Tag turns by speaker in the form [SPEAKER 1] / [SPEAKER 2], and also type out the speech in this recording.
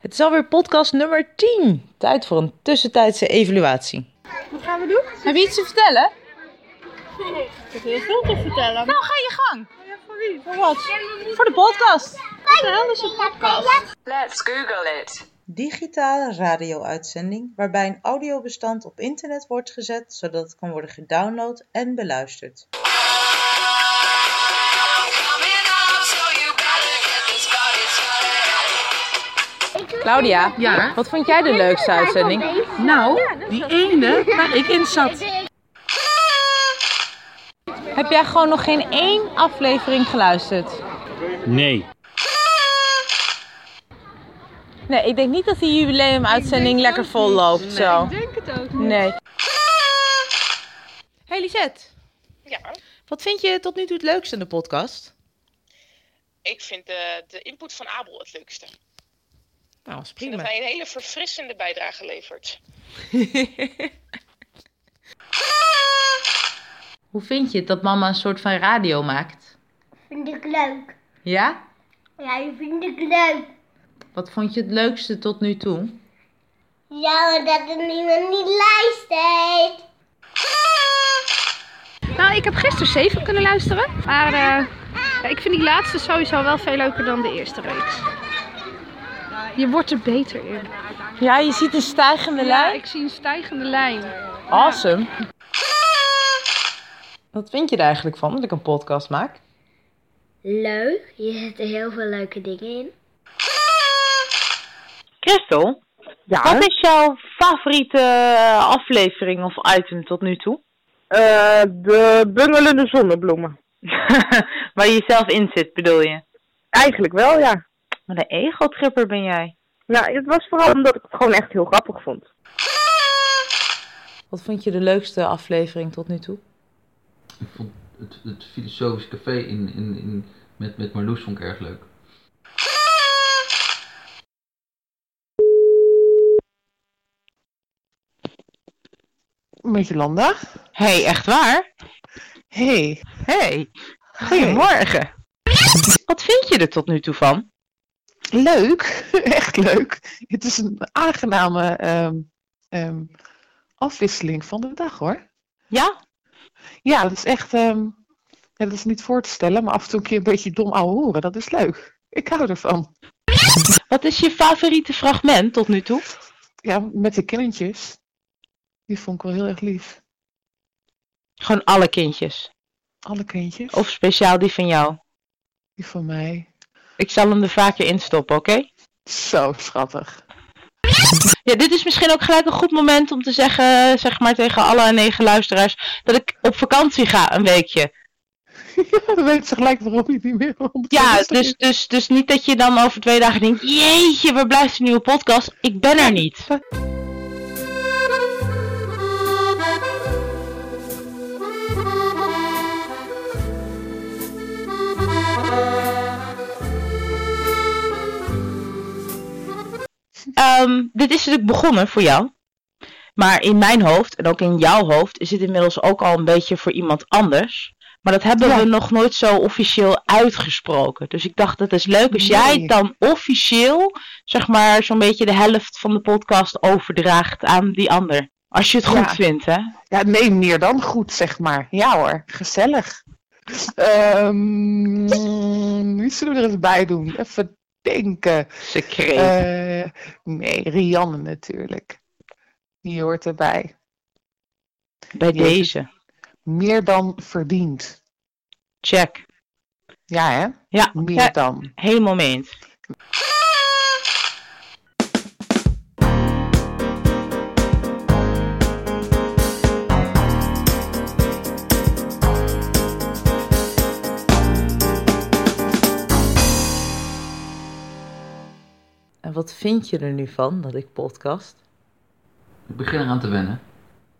[SPEAKER 1] Het is alweer podcast nummer 10. Tijd voor een tussentijdse evaluatie.
[SPEAKER 2] Wat gaan we doen?
[SPEAKER 3] Heb je iets te vertellen?
[SPEAKER 2] Ik heb heel veel te vertellen. Oh
[SPEAKER 3] Nou, ga je gang.
[SPEAKER 2] Ja, voor wie? Voor wat?
[SPEAKER 3] Voor de podcast.
[SPEAKER 2] Wat de hel is een podcast?
[SPEAKER 4] Let's Google it.
[SPEAKER 1] Digitale radio-uitzending waarbij een audiobestand op internet wordt gezet zodat het kan worden gedownload en beluisterd.
[SPEAKER 3] Claudia,
[SPEAKER 2] Ja.
[SPEAKER 3] wat vond jij de leukste uitzending?
[SPEAKER 2] Nou, die ene waar ik in zat.
[SPEAKER 3] Heb jij gewoon nog geen één aflevering geluisterd?
[SPEAKER 5] Nee.
[SPEAKER 3] Nee, ik denk niet dat die jubileumuitzending lekker vol loopt zo.
[SPEAKER 2] Ik denk het ook
[SPEAKER 3] Nee. Hey Lisette,
[SPEAKER 6] Ja,
[SPEAKER 1] Wat vind je tot nu toe het leukste in de podcast?
[SPEAKER 6] ik vind de, de input van Abel het leukste. Ik
[SPEAKER 1] Nou, dat is
[SPEAKER 6] vind dat hij een hele verfrissende bijdrage levert.
[SPEAKER 1] Hoe vind je het dat mama een soort van radio maakt?
[SPEAKER 7] Vind ik leuk.
[SPEAKER 1] Ja?
[SPEAKER 7] Ja, die vind ik leuk.
[SPEAKER 1] Wat vond je het leukste tot nu toe?
[SPEAKER 7] Ja, maar dat er niemand niet luistert.
[SPEAKER 2] Nou, ik heb gisteren zeven kunnen luisteren. Maar eh, ik vind die laatste sowieso wel veel leuker dan de eerste reeks. Je wordt er beter in.
[SPEAKER 3] Ja, je ziet een stijgende
[SPEAKER 2] Ja,
[SPEAKER 3] lijn.
[SPEAKER 2] ik zie een stijgende lijn.
[SPEAKER 3] Awesome.
[SPEAKER 1] Wat vind je er eigenlijk van dat ik een podcast maak?
[SPEAKER 7] Leuk. Je zet er heel veel leuke dingen in.
[SPEAKER 8] Christel, wat is jouw favoriete eh, aflevering of item tot nu toe?
[SPEAKER 9] Eh, de bungelende zonnebloemen.
[SPEAKER 8] Waar je zelf in zit, bedoel je?
[SPEAKER 9] Eigenlijk wel, ja.
[SPEAKER 8] Wat een egeltripper ben jij.
[SPEAKER 9] Nou, het was vooral omdat ik het gewoon echt heel grappig vond.
[SPEAKER 1] Wat vond je de leukste aflevering tot nu toe?
[SPEAKER 10] Ik vond het, het filosofisch café in, in, in, met, met Marloes vond ik erg leuk.
[SPEAKER 9] Met Jolanda?
[SPEAKER 8] hey, echt waar?
[SPEAKER 9] Hey.
[SPEAKER 8] hey, goedemorgen. Wat vind je er tot nu toe van?
[SPEAKER 9] Leuk. echt leuk. Het is een aangename ehm, ehm, afwisseling van de dag, hoor.
[SPEAKER 8] Ja?
[SPEAKER 9] Ja, dat is echt... ehm, ja, dat is niet voor te stellen, maar af en toe een keer een beetje dom ouwe horen. Dat is leuk. Ik hou ervan.
[SPEAKER 8] Wat is je favoriete fragment tot nu toe?
[SPEAKER 9] Ja, met de kindertjes. Die vond ik wel heel erg lief.
[SPEAKER 8] Gewoon alle kindjes.
[SPEAKER 9] Alle kindjes.
[SPEAKER 8] Of speciaal die van jou.
[SPEAKER 9] die van mij.
[SPEAKER 8] Ik zal hem er vaker in stoppen, oké?
[SPEAKER 9] Zo schattig.
[SPEAKER 8] Ja, dit is misschien ook gelijk een goed moment om te zeggen, zeg maar tegen alle negen luisteraars, dat ik op vakantie ga een weekje.
[SPEAKER 9] Ja, dan weet ze gelijk waarom je niet meer om
[SPEAKER 8] Ja, dus, dus, dus niet dat je dan over twee dagen denkt, jeetje, waar blijft de nieuwe podcast? Ik ben er niet. Ehm, dit is natuurlijk begonnen voor jou. Maar in mijn hoofd en ook in jouw hoofd is het inmiddels ook al een beetje voor iemand anders. Maar dat hebben
[SPEAKER 9] Ja.
[SPEAKER 8] we nog nooit zo officieel uitgesproken. Dus ik dacht, dat is leuk als jij
[SPEAKER 9] Nee.
[SPEAKER 8] dan officieel, zeg maar, zo'n beetje de helft van de podcast overdraagt aan die ander. Als je het goed
[SPEAKER 9] Ja.
[SPEAKER 8] vindt, hè?
[SPEAKER 9] Ja, nee, meer dan goed, zeg maar. Ja hoor, gezellig. Ehm, wie zullen we er eens bij doen? Even denken.
[SPEAKER 8] Ze kreeg.
[SPEAKER 9] Eh, nee, Rianne natuurlijk. Die hoort erbij.
[SPEAKER 8] Bij
[SPEAKER 9] jezus.
[SPEAKER 8] deze.
[SPEAKER 9] Meer dan verdiend.
[SPEAKER 8] Check.
[SPEAKER 9] Ja hè?
[SPEAKER 8] Ja,
[SPEAKER 9] Meer
[SPEAKER 8] ja,
[SPEAKER 9] dan.
[SPEAKER 8] helemaal mee eens.
[SPEAKER 1] En wat vind je er nu van dat ik podcast?
[SPEAKER 10] Ik begin eraan te wennen.